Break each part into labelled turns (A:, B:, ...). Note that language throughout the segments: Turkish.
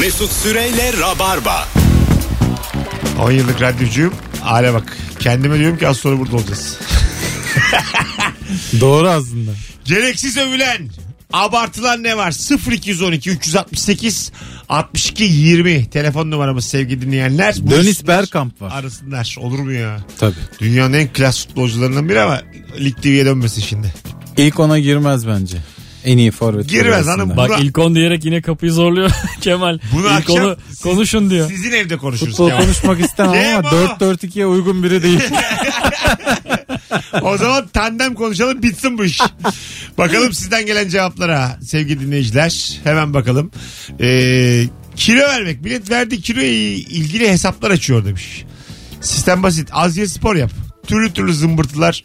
A: Mesut Süreyle Rabarba.
B: 10 yıllık radyocuyum. Hale bak. Kendime diyorum ki az sonra burada olacağız.
C: Doğru aslında.
B: Gereksiz övülen, abartılan ne var? 0212 368 62 20 telefon numaramız sevgili dinleyenler. Bu
C: Dönis Bergkamp var.
B: arasınlar. Olur mu ya?
C: Tabii.
B: Dünyanın en klas futbolcularından biri ama Lig TV'ye dönmesin şimdi.
C: İlk ona girmez bence. En iyi forvet.
B: Girmez hanım.
D: Bak
B: Buna-
D: ilk 10 diyerek yine kapıyı zorluyor Kemal.
B: Bunu
D: ilk
B: akşam
D: onu
B: siz-
D: konuşun diyor.
B: Sizin evde konuşuruz.
C: Futbol
B: Kemal.
C: konuşmak istemem ama
B: Kemal.
C: 4-4-2'ye uygun biri değil.
B: O zaman tandem konuşalım bitsin bu iş. bakalım sizden gelen cevaplara sevgili dinleyiciler. Hemen bakalım. Ee, kilo vermek. Millet verdiği kiloya ilgili hesaplar açıyor demiş. Sistem basit. Az ye spor yap. Türlü türlü zımbırtılar.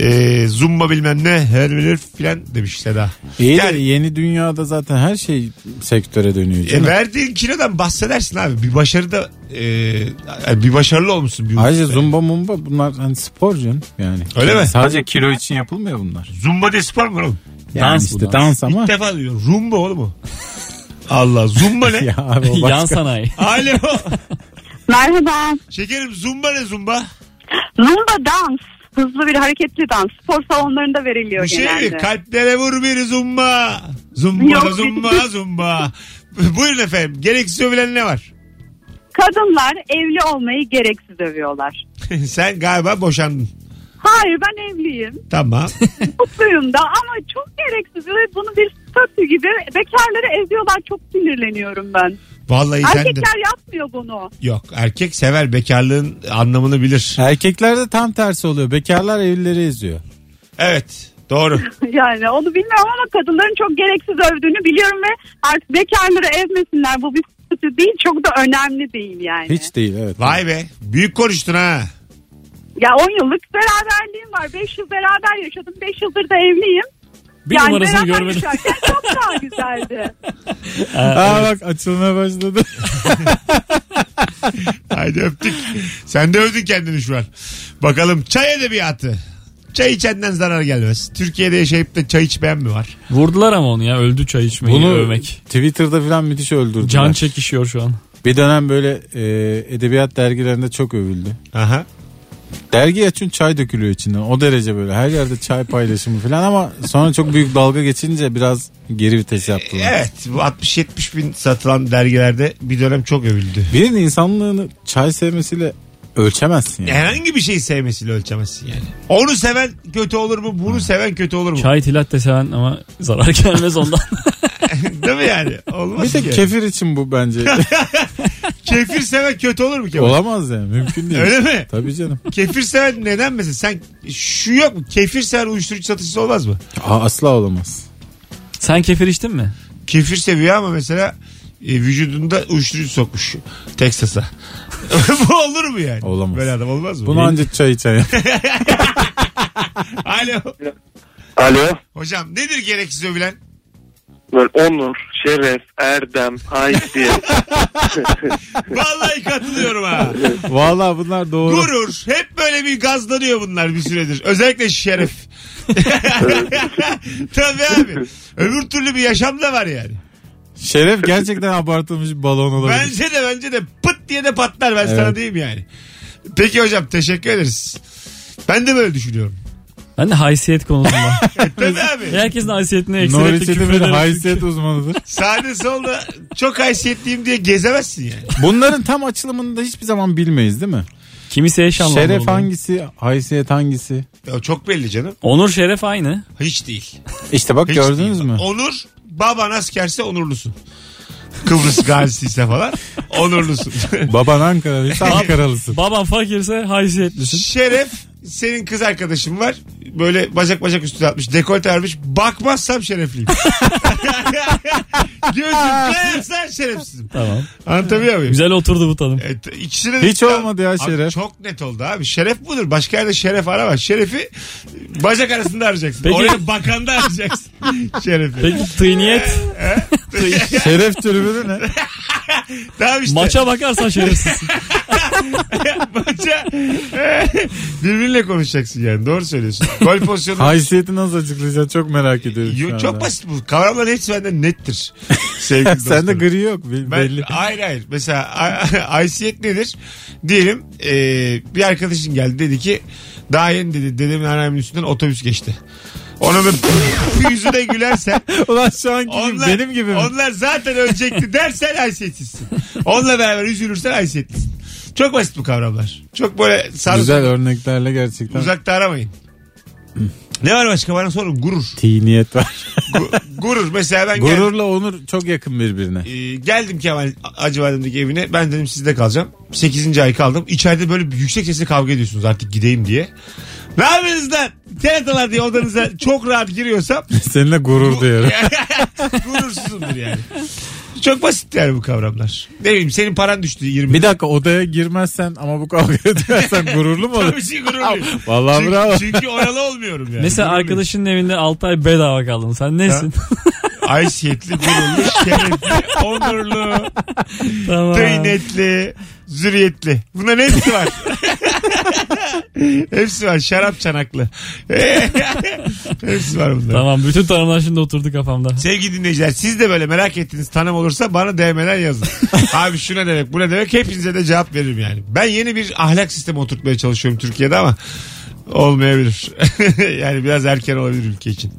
B: Ee, zumba bilmem ne. Her bilir filan demiş Seda.
C: İyi de
B: Yani-
C: yeni dünyada zaten her şey sektöre dönüyor.
B: E,
C: canım.
B: verdiğin kilodan bahsedersin abi. Bir başarıda e, bir başarılı olmuşsun. Bir e,
C: Ayrıca
B: usta.
C: zumba mumba bunlar hani spor canım yani.
B: Öyle mi? Hani-
C: Sadece kilo için yapılmıyor bunlar.
B: Zumba diye spor mu oğlum?
C: Yani
D: Dans
C: işte
D: bu, dans.
C: dans ama.
B: İlk defa duyuyorum. Rumba oğlum o. Allah zumba ne?
C: ya abi o
D: Yan
C: başka.
D: sanayi.
B: Alo.
E: Merhaba.
B: Şekerim zumba ne zumba?
E: Zumba dans. Hızlı bir hareketli dans. Spor salonlarında veriliyor
B: Bir şey
E: genelde.
B: mi? Kalplere vur bir zumba. Zumba
E: Yok,
B: zumba
E: bir-
B: zumba. Buyurun efendim. Gereksiz övülen ne var?
E: Kadınlar evli olmayı gereksiz övüyorlar.
B: Sen galiba boşandın.
E: Hayır ben evliyim.
B: Tamam.
E: Mutluyum da ama çok gereksiz ve bunu bir statü gibi bekarları eziyorlar. Çok sinirleniyorum ben.
B: Vallahi sen de.
E: Erkekler yapmıyor bunu.
B: Yok erkek sever bekarlığın anlamını bilir.
C: Erkeklerde tam tersi oluyor. Bekarlar evlileri eziyor.
B: Evet doğru.
E: Yani onu bilmiyorum ama kadınların çok gereksiz övdüğünü biliyorum ve artık bekarları ezmesinler. Bu bir statü değil. Çok da önemli değil yani.
C: Hiç değil evet.
B: Vay be büyük konuştun ha.
E: Ya 10 yıllık beraberliğim var. 5 yıl beraber yaşadım. 5 yıldır da evliyim.
D: Bir numarasını
E: beraber
D: görmedim.
E: yaşarken çok daha güzeldi.
C: Aa bak açılmaya başladı.
B: Haydi öptük. Sen de övdün kendini şu an. Bakalım çay edebiyatı. Çay içenden zarar gelmez. Türkiye'de yaşayıp da çay içmeyen mi var?
D: Vurdular ama onu ya öldü çay içmeyi
C: Bunu
D: övmek.
C: Twitter'da falan müthiş öldürdüler.
D: Can çekişiyor şu an.
C: Bir dönem böyle e, edebiyat dergilerinde çok övüldü.
B: Aha.
C: Dergi açın çay dökülüyor içinden. O derece böyle her yerde çay paylaşımı falan ama sonra çok büyük dalga geçince biraz geri vites yaptılar.
B: Evet bu 60-70 bin satılan dergilerde bir dönem çok övüldü.
C: Birinin insanlığını çay sevmesiyle ölçemezsin yani.
B: Herhangi bir şeyi sevmesiyle ölçemezsin yani. Onu seven kötü olur mu? Bunu seven kötü olur mu?
D: Çay tilatte seven ama zarar gelmez ondan.
B: Değil mi yani? Olmaz
C: Bir
B: ki.
C: tek kefir için bu bence.
B: Kefir seven kötü olur mu ki?
C: Olamaz yani mümkün değil.
B: Öyle mi?
C: Tabii canım.
B: Kefir seven neden mesela? Sen şu yok mu? Kefir seven uyuşturucu satıcısı olmaz mı?
C: Aa, asla olamaz.
D: Sen kefir içtin mi?
B: Kefir seviyor ama mesela e, vücudunda uyuşturucu sokmuş Texas'a. Bu olur mu yani?
C: Olamaz.
B: Böyle adam olmaz mı?
C: Bunu ancak çay içen.
B: Alo.
F: Alo.
B: Hocam nedir gereksiz övülen?
F: Böyle onur, şeref, erdem, haysiyet.
B: Vallahi katılıyorum ha.
C: Valla bunlar doğru.
B: Gurur. Hep böyle bir gazlanıyor bunlar bir süredir. Özellikle şeref. Tabii abi. Öbür türlü bir yaşam da var yani.
C: Şeref gerçekten abartılmış bir balon olabilir.
B: Bence de bence de pıt diye de patlar ben sana
C: Evet.
B: diyeyim yani. Peki hocam teşekkür ederiz. Ben de böyle düşünüyorum. E,
D: Ben de haysiyet konusunda.
B: Tabii abi.
D: Herkesin haysiyetini eksik
C: Nuri
D: etti küfür
C: Çetin bir
D: ederim.
C: haysiyet uzmanıdır.
B: Sağda solda çok haysiyetliyim diye gezemezsin yani.
C: Bunların tam açılımını da hiçbir zaman bilmeyiz değil mi?
D: Kimisi eş anlamlı
C: Şeref
D: oluyor.
C: hangisi, haysiyet hangisi?
B: Ya çok belli canım.
D: Onur şeref aynı.
B: Hiç değil.
C: İşte bak
B: Hiç
C: gördünüz
B: değil.
C: mü?
B: Onur baban askerse onurlusun. Kıbrıs gazisiyse falan onurlusun.
C: Baban Ankaralıysa Ankaralısın.
D: Baban fakirse haysiyetlisin.
B: Şeref senin kız arkadaşın var. Böyle bacak bacak üstüne atmış. Dekolte vermiş. Bakmazsam şerefliyim. Gözüm kayarsan şerefsizim.
D: Tamam.
B: Anlatabiliyor muyum?
D: Güzel oturdu bu tanım.
B: Evet, ikisine
C: Hiç olmadı ya
B: Abi
C: şeref.
B: çok net oldu abi. Şeref budur. Başka yerde şeref arama. Şerefi bacak arasında arayacaksın.
D: Peki-
B: Oraya bakanda arayacaksın. Şerefi.
D: Peki tıyniyet
C: Şeref tribünü ne?
B: Tamam işte.
D: maça bakarsan şerefsizsin.
B: Maça birbirine konuşacaksın yani. Doğru söylüyorsun. Gol pozisyonu
C: Haysiyeti nasıl açıklayacaksın çok merak ediyorum. şu
B: Yo, çok
C: anda.
B: basit bu. Kavramların hepsi benden nettir. Sevgili dostlarım.
C: Sende gri yok be-
B: Ben,
C: belli.
B: Hayır hayır. Mesela a- haysiyet nedir? Diyelim e, bir arkadaşın geldi dedi ki daha yeni dedi dedemin annemin üstünden otobüs geçti. Onun bir yüzüne gülersen
C: Ulan şu anki gibi,
B: onlar,
C: benim gibi mi?
B: onlar zaten ölecekti dersen haysiyetsizsin. Onunla beraber üzülürsen haysiyetlisin. Çok basit bu kavramlar. Çok böyle sarı
C: Güzel örneklerle gerçekten.
B: uzakta aramayın. ne var başka bana sorun gurur.
C: Tiniyet var.
B: Gu- gurur mesela ben geldim.
C: Gururla onur çok yakın birbirine.
B: Ee, geldim Kemal Acıbadem'deki evine. Ben dedim sizde kalacağım. 8. ay kaldım. İçeride böyle bir yüksek sesle kavga ediyorsunuz artık gideyim diye. Ne yapıyorsunuz lan? Teletalar diye odanıza çok rahat giriyorsam
C: Seninle gurur duyuyorum.
B: gurursuzumdur yani. Çok basit yani bu kavramlar. Ne bileyim senin paran düştü 20.
C: Bir dakika odaya girmezsen ama bu kavga edersen gururlu mu
B: Tabii
C: olur?
B: şey gururluyum.
C: Vallahi
B: çünkü,
C: bravo.
B: çünkü oralı olmuyorum yani.
D: Mesela
B: Gururluyum.
D: arkadaşının evinde 6 ay bedava kaldın. Sen nesin?
B: Haysiyetli, gururlu, şerefli, onurlu,
D: tamam.
B: tıynetli, zürriyetli. Bunların hepsi var. hepsi var. Şarap çanaklı. hepsi var bunların.
D: Tamam bütün tanımlar şimdi oturdu kafamda.
B: Sevgili dinleyiciler siz de böyle merak ettiğiniz tanım olursa bana DM'den yazın. Abi şu ne demek bu ne demek hepinize de cevap veririm yani. Ben yeni bir ahlak sistemi oturtmaya çalışıyorum Türkiye'de ama olmayabilir. yani biraz erken olabilir ülke için.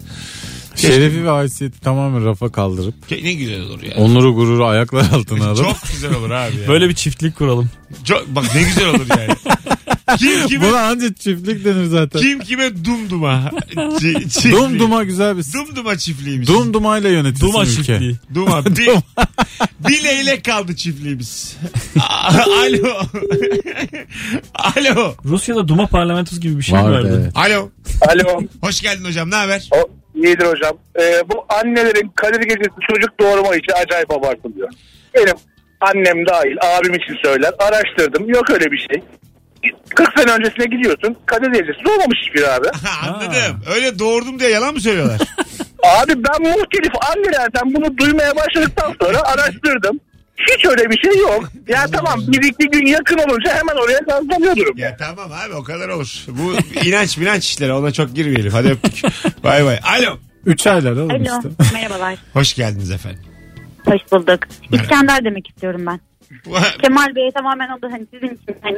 C: Şerefi ve haysiyeti tamamen rafa kaldırıp
B: Ne güzel olur ya.
C: onuru gururu ayaklar altına alıp
B: Çok güzel olur abi. ya.
D: Böyle bir çiftlik kuralım.
B: Çok- bak ne güzel olur yani. Kim kime
C: Buna anca çiftlik denir zaten.
B: Kim kime dumduma. Ç- çiftliği.
C: Dumduma güzel bir
B: Dumduma çiftliğimiz.
C: Dumdumayla yönetilsin
D: Duma
C: ülke.
D: çiftliği.
B: Duma. Bir, bir leylek kaldı çiftliğimiz. A- Alo. Alo.
D: Rusya'da Duma parlamentosu gibi bir şey
C: Var
D: vardı.
C: evet.
B: Alo.
F: Alo.
B: Hoş geldin hocam. Ne haber?
F: O, iyidir hocam. Ee, bu annelerin kadir gecesi çocuk doğurma işi acayip abartılıyor. Benim annem dahil abim için söyler. Araştırdım. Yok öyle bir şey. 40 sene öncesine gidiyorsun. Kadir gecesi doğmamış hiçbir abi.
B: Ha, anladım. Öyle doğurdum diye yalan mı söylüyorlar?
F: Abi ben muhtelif annelerden bunu duymaya başladıktan sonra araştırdım. Hiç öyle bir şey yok. Ya tamam bir iki gün yakın olunca hemen oraya gazlanıyor durum.
B: ya tamam abi o kadar olur. Bu inanç minanç işleri ona çok girmeyelim. Hadi öptük. bay bay. Alo.
C: Üç aylar oğlum
E: Alo
C: işte.
E: merhabalar.
B: Hoş geldiniz efendim.
E: Hoş bulduk.
B: Merhaba.
E: İskender demek istiyorum ben. Kemal Bey'e tamamen o da hani sizin için hani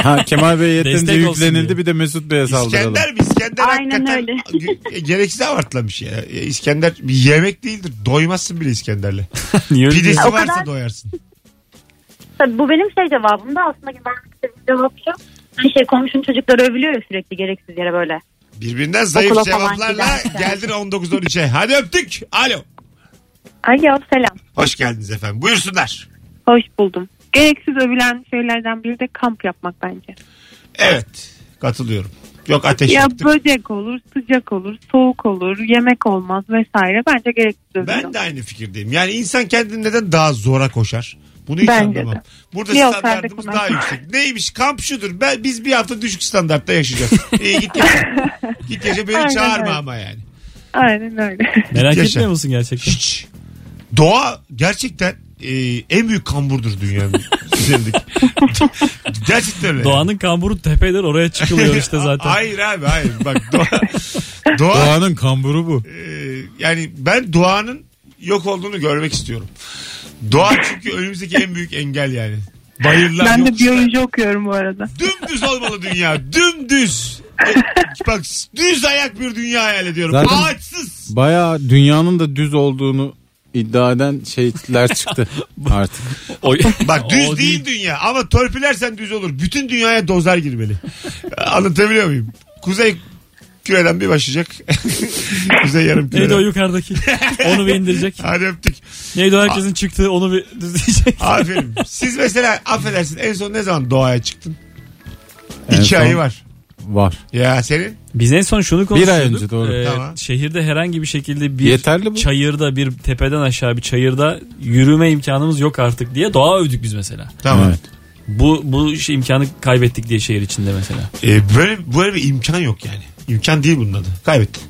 C: Ha, Kemal Bey yeterince
D: Destek olsun
C: yüklenildi
D: diye.
C: bir de Mesut Bey'e saldıralım.
B: İskender mi? İskender
E: Aynen
B: hakikaten
E: öyle.
B: ge- gereksiz abartılan bir şey. ya. E, İskender bir yemek değildir. Doymazsın bile İskender'le.
D: Niye öyle
B: Pidesi
E: Ya, o
B: varsa
E: kadar-
B: doyarsın.
E: Tabii bu benim şey cevabım da aslında vermek istediğim cevap şu. Hani şey komşunun çocukları övülüyor ya sürekli gereksiz yere böyle.
B: Birbirinden zayıf
E: Okula falan
B: cevaplarla
E: giderken.
B: geldin 19-13'e. Hadi öptük. Alo.
E: Alo selam.
B: Hoş geldiniz efendim. Buyursunlar.
G: Hoş buldum. Gereksiz övülen şeylerden biri de kamp yapmak bence.
B: Evet. Katılıyorum. Yok ateş
G: Ya
B: yaktı.
G: böcek olur, sıcak olur, soğuk olur, yemek olmaz vesaire. Bence gereksiz övülen.
B: Ben de aynı fikirdeyim. Yani insan kendini neden daha zora koşar? Bunu hiç
G: Bence
B: anlamam.
G: de.
B: Burada
G: Bir o
B: standartımız
G: perde
B: daha yüksek. Neymiş kamp şudur. Ben, biz bir hafta düşük standartta yaşayacağız. İyi git yaşa. git yaşa beni
G: Aynen
B: çağırma
G: öyle.
B: ama yani.
G: Aynen öyle.
D: Merak
B: Yaşa.
D: etmiyor musun gerçekten?
B: Hiç. Doğa gerçekten e, en büyük kamburdur dünyanın üzerindeki. gerçekten öyle.
D: Doğanın kamburu tepeler oraya çıkılıyor işte zaten.
B: hayır abi hayır. Bak doğa, doğa
C: Doğanın kamburu bu.
B: e, yani ben doğanın yok olduğunu görmek istiyorum. Doğa çünkü önümüzdeki en büyük engel yani. Bayırlar
G: ben de
B: yokuşlar.
G: biyoloji okuyorum bu arada.
B: Dümdüz olmalı dünya. Dümdüz. E, Bak düz ayak bir dünya hayal ediyorum.
C: Zaten-
B: Ağaçsız.
C: Baya dünyanın da düz olduğunu iddia eden şeyler çıktı artık.
D: Oy.
B: Bak düz
D: O
B: değil, dünya ama törpülersen düz olur. Bütün dünyaya dozlar girmeli. Anlatabiliyor muyum? Kuzey küreden bir başlayacak. Kuzey yarım
D: Neydi o
B: küreden.
D: yukarıdaki? Onu bir indirecek.
B: Hadi öptük.
D: Neydi o herkesin çıktığı onu bir düzleyecek.
B: Aferin. Siz mesela affedersin en son ne zaman doğaya çıktın?
C: En
B: İki
C: son-
B: ayı var.
C: Var.
B: Ya senin?
D: Biz en son şunu
C: ay
D: konuşuyorduk. Ee,
C: önce, doğru.
B: Tamam.
D: Şehirde herhangi bir şekilde bir
C: Yeterli bu.
D: çayırda bir tepeden aşağı bir çayırda yürüme imkanımız yok artık diye doğa övdük biz mesela.
B: Tamam.
C: Evet.
D: Bu bu şey imkanı kaybettik diye şehir içinde mesela.
B: Ee, böyle böyle bir imkan yok yani. İmkan değil bunun adı. Kaybettin.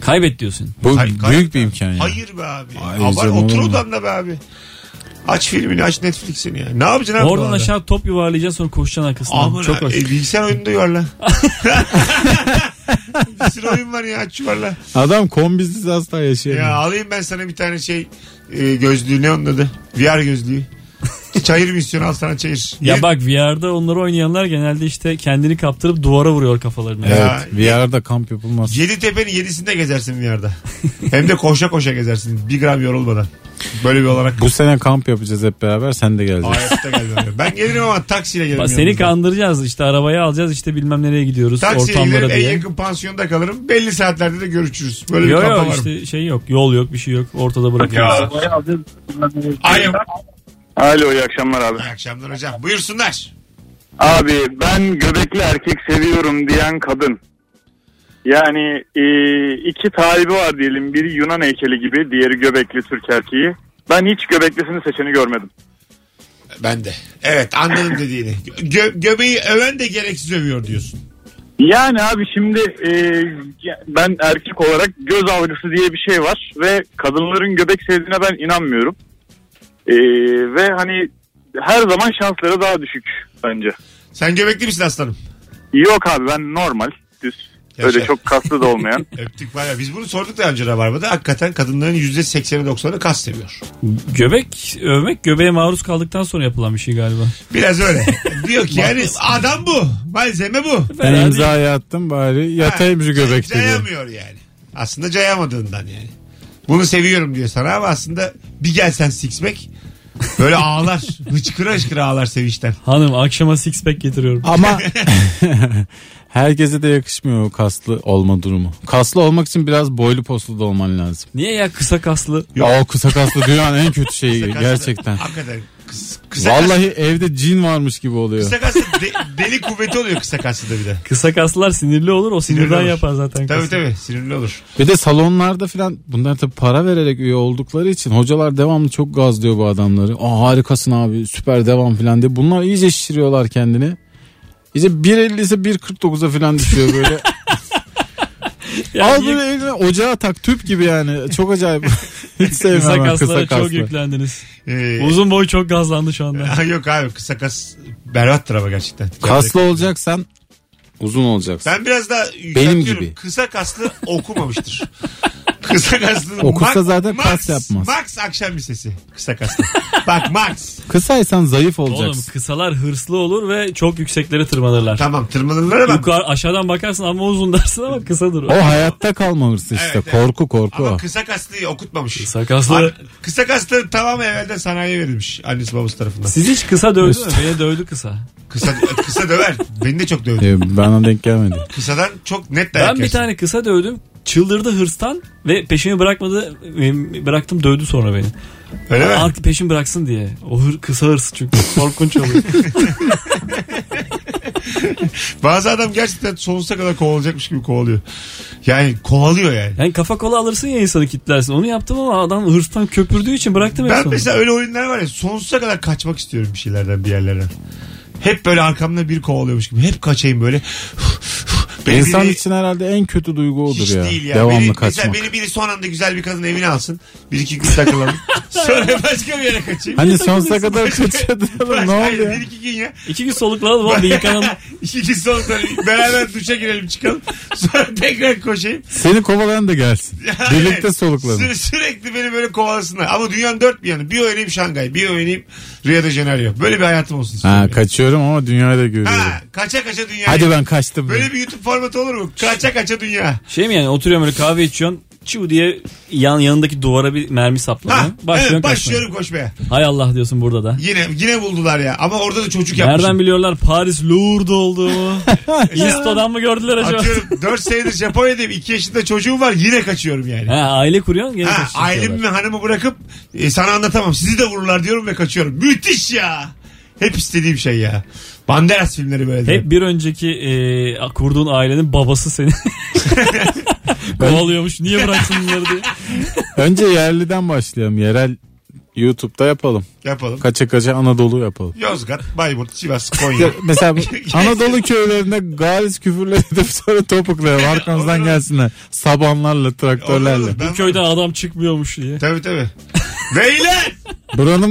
D: Kaybet diyorsun.
C: Bu
B: Hayır,
C: büyük
B: gayet-
C: bir imkan yani.
B: Hayır be abi.
C: Hayır
B: Abar,
C: canım.
B: otur odanda be abi. Aç filmini aç Netflix'ini ya. Ne yapacaksın abi
D: Oradan
B: doğada?
D: aşağı top yuvarlayacaksın sonra koşacaksın arkasından.
B: Aman
D: Çok
B: ha,
D: hoş.
B: e, bilgisayar oyununda yuvarla. bir sürü oyun var ya aç yuvarla.
C: Adam kombisiz asla yaşayamıyor.
B: Ya alayım ben sana bir tane şey e, gözlüğü ne onun adı? VR gözlüğü. çayır misyonu al sana çayır.
D: Ya
B: Yeri-
D: bak VR'da onları oynayanlar genelde işte kendini kaptırıp duvara vuruyor kafalarını.
B: Ya.
C: Evet. VR'da kamp yapılmaz.
B: Yedi tepenin yedisinde gezersin VR'da. Hem de koşa koşa gezersin. Bir gram yorulmadan. Böyle bir olarak.
C: Bu sene kamp yapacağız hep beraber. Sen de geleceksin.
B: Hayatta gelmem. Ben gelirim ama taksiyle gelirim.
D: Bak Seni
B: yanınıza.
D: kandıracağız işte arabaya alacağız işte bilmem nereye gidiyoruz
B: Taksiyle
D: ortamlara
B: giderim en
D: diye.
B: yakın pansiyonda kalırım. Belli saatlerde de görüşürüz. Böyle bir
D: Yok
B: kafa
D: yok
B: varım.
D: işte şey yok yol yok bir şey yok ortada bırakıyoruz.
B: Alo.
F: Alo iyi akşamlar abi.
B: İyi akşamlar hocam. Buyursunlar.
F: Abi ben göbekli erkek seviyorum diyen kadın. Yani e, iki talibi var diyelim. Biri Yunan heykeli gibi, diğeri göbekli Türk erkeği. Ben hiç göbeklisini seçeni görmedim.
B: Ben de. Evet anladım dediğini. Gö- göbeği öven de gereksiz övüyor diyorsun.
F: Yani abi şimdi e, ben erkek olarak göz avcısı diye bir şey var ve kadınların göbek sevdiğine ben inanmıyorum. E, ve hani her zaman şansları daha düşük bence.
B: Sen göbekli misin aslanım?
F: Yok abi ben normal düz. Öyle
B: Yaşa.
F: çok kaslı da olmayan.
B: Öptük var ya. Biz bunu sorduk da önce Rabarba'da. Hakikaten kadınların %80'i 90'ı kas seviyor.
D: Göbek övmek göbeğe maruz kaldıktan sonra yapılan bir şey galiba.
B: Biraz öyle. Diyor ki yani adam bu. Malzeme bu.
C: Ben imzayı attım bari yatayım şu göbekte diye.
B: Cayamıyor yani. Aslında cayamadığından yani. Bunu seviyorum diyor sana ama aslında bir gelsen six pack böyle ağlar. Hıçkıra hıçkıra ağlar sevinçten.
D: Hanım akşama six pack getiriyorum.
C: Ama herkese de yakışmıyor o kaslı olma durumu. Kaslı olmak için biraz boylu poslu da olman lazım.
D: Niye ya kısa kaslı?
B: Yok.
C: Aa, O kısa kaslı dünyanın en kötü şeyi
B: Kısa kaslı-
C: gerçekten.
B: Hakikaten. Kıs, kısa kas-
C: Vallahi evde cin varmış gibi oluyor.
B: Kısa kaslı de- deli kuvveti oluyor kısa kaslı da bir de.
D: Kısa kaslılar sinirli olur o
B: Sinirli
D: sinirden
B: olur.
D: yapar zaten.
B: Tabii
D: kası.
B: tabii sinirli olur.
C: Bir de salonlarda filan bunlar tabii para vererek üye oldukları için hocalar devamlı çok gazlıyor bu adamları. Aa harikasın abi süper devam filan diye. Bunlar iyice şişiriyorlar kendini. İşte 1.50'si 1.49'a filan düşüyor böyle.
D: Yani
C: Al böyle eline ocağa tak tüp gibi yani. Çok acayip. Hiç sevmem
D: kısa
C: ben
D: kaslara
C: kısa kaslı.
D: çok yüklendiniz.
B: Ee,
D: Uzun boy çok gazlandı şu anda.
B: Ha, Yok abi kısa kas berbattır ama gerçekten. şey
C: Kaslı olacaksan uzun olacaksın.
B: Ben biraz daha yükseltiyorum.
C: gibi.
B: Kısa kaslı okumamıştır. kısa kaslı.
C: Okursa
B: Max-
C: zaten
B: Max-
C: kas yapmaz.
B: Max akşam lisesi. Kısa kaslı. Bak Max.
C: Kısaysan zayıf
D: Oğlum
C: olacaksın.
D: kısalar hırslı olur ve çok yükseklere tırmanırlar.
B: Tamam tırmanırlar ama.
D: Yukarı aşağıdan bakarsın ama uzun dersin ama kısadır o.
C: O hayatta kalma hırsı işte.
B: Evet, evet.
C: Korku korku
B: Ama
C: o.
B: kısa kaslıyı okutmamış.
D: Kısa kaslı-
B: An- kısa kaslı tamamı evvelden sanayiye verilmiş. Annesi babası tarafından.
D: Siz hiç kısa dövdü mü? Beni dövdü kısa.
B: Kısa, kısa döver. Beni de çok dövdü.
C: Ee, Bana denk gelmedi.
B: Kısadan çok net dayak
D: Ben bir
B: yersin.
D: tane kısa dövdüm. Çıldırdı hırstan ve peşimi bırakmadı. E, Bıraktım dövdü sonra beni.
B: Öyle mi?
D: Artık peşimi bıraksın diye. O hır, kısa hırs çünkü korkunç oluyor.
B: Bazı adam gerçekten sonsuza kadar kovalacakmış gibi kovalıyor. Yani kovalıyor yani.
D: Yani kafa kola alırsın ya insanı kitlersin. Onu yaptım ama adam hırstan köpürdüğü için bıraktım en
B: Ben
D: sonunda.
B: mesela öyle oyunlar var ya sonsuza kadar kaçmak istiyorum bir şeylerden bir yerlerden. Hep böyle arkamda bir kovalıyormuş gibi. Hep kaçayım böyle. Beni
C: İnsan
B: biri-
C: için herhalde en kötü duygu odur
B: hiç
C: ya.
B: değil ya.
C: Devamlı
B: beni, Mesela
C: kaçmak.
B: beni biri son anda güzel bir kadın evine alsın. Bir iki gün takılalım. Sonra başka bir yere kaçayım.
C: Hani sonsuza kadar kaçıyordun
B: Başka-
C: ne
B: hayır,
C: oldu ya?
B: Bir iki gün ya.
D: İki gün soluklanalım ama bir yıkanalım.
B: İki sonra beraber duşa girelim çıkalım. Sonra tekrar koşayım.
C: Seni kovalayan da gelsin. Birlikte
B: Evet.
C: soluklanın.
B: Sü- sürekli beni böyle kovalasınlar. Ama dünyanın dört bir yanı. Bir oynayayım Şangay, bir oynayayım Rio de Janeiro. Böyle bir hayatım olsun
C: Ha
B: istiyorum. yani.
C: kaçıyorum ama dünyayı da görüyorum.
B: Ha, kaça kaça dünya.
C: Hadi ben kaçtım.
B: Böyle bir YouTube formatı olur mu? Kaça kaça dünya.
D: Şey mi yani oturuyorum böyle kahve içiyorsun. Çiu diye yan yanındaki duvara bir mermi
B: Ha,
D: saplanıyor. Başlıyorsun
B: evet,
D: kaçmaya.
B: başlıyorum koşmaya.
D: Hay Allah diyorsun burada da.
B: Yine yine buldular ya. Ama orada da çocuk yapmışım.
D: Nereden biliyorlar Paris Louvre'da olduğumu? İsto'dan mı gördüler acaba?
B: Atıyorum 4 senedir Japonya'dayım. 2 yaşında çocuğum var. Yine kaçıyorum yani.
D: Ha, aile kuruyorsun gene
B: Ha,
D: kaçıyorsun diyorlar.
B: ailemi ve hanımı bırakıp e, sana anlatamam. Sizi de vururlar diyorum ve kaçıyorum. Müthiş ya. Hep istediğim şey ya. Banderas filmleri böyle.
D: Hep bir önceki e, kurduğun ailenin babası seni kovalıyormuş. Niye bıraksın bunları diye.
C: Önce yerliden başlayalım. Yerel YouTube'da yapalım.
B: Yapalım.
C: Kaça kaça Anadolu yapalım.
B: Yozgat, Bayburt, Sivas, Konya.
C: Ya, mesela bu Anadolu köylerinde galis küfürler edip sonra topuklayalım. Arkamızdan
B: Olur.
C: gelsinler. Sabanlarla, traktörlerle.
B: Olur, ben-
D: Köyde adam çıkmıyormuş diye.
B: Tabii tabii. Beyler!
C: Buranın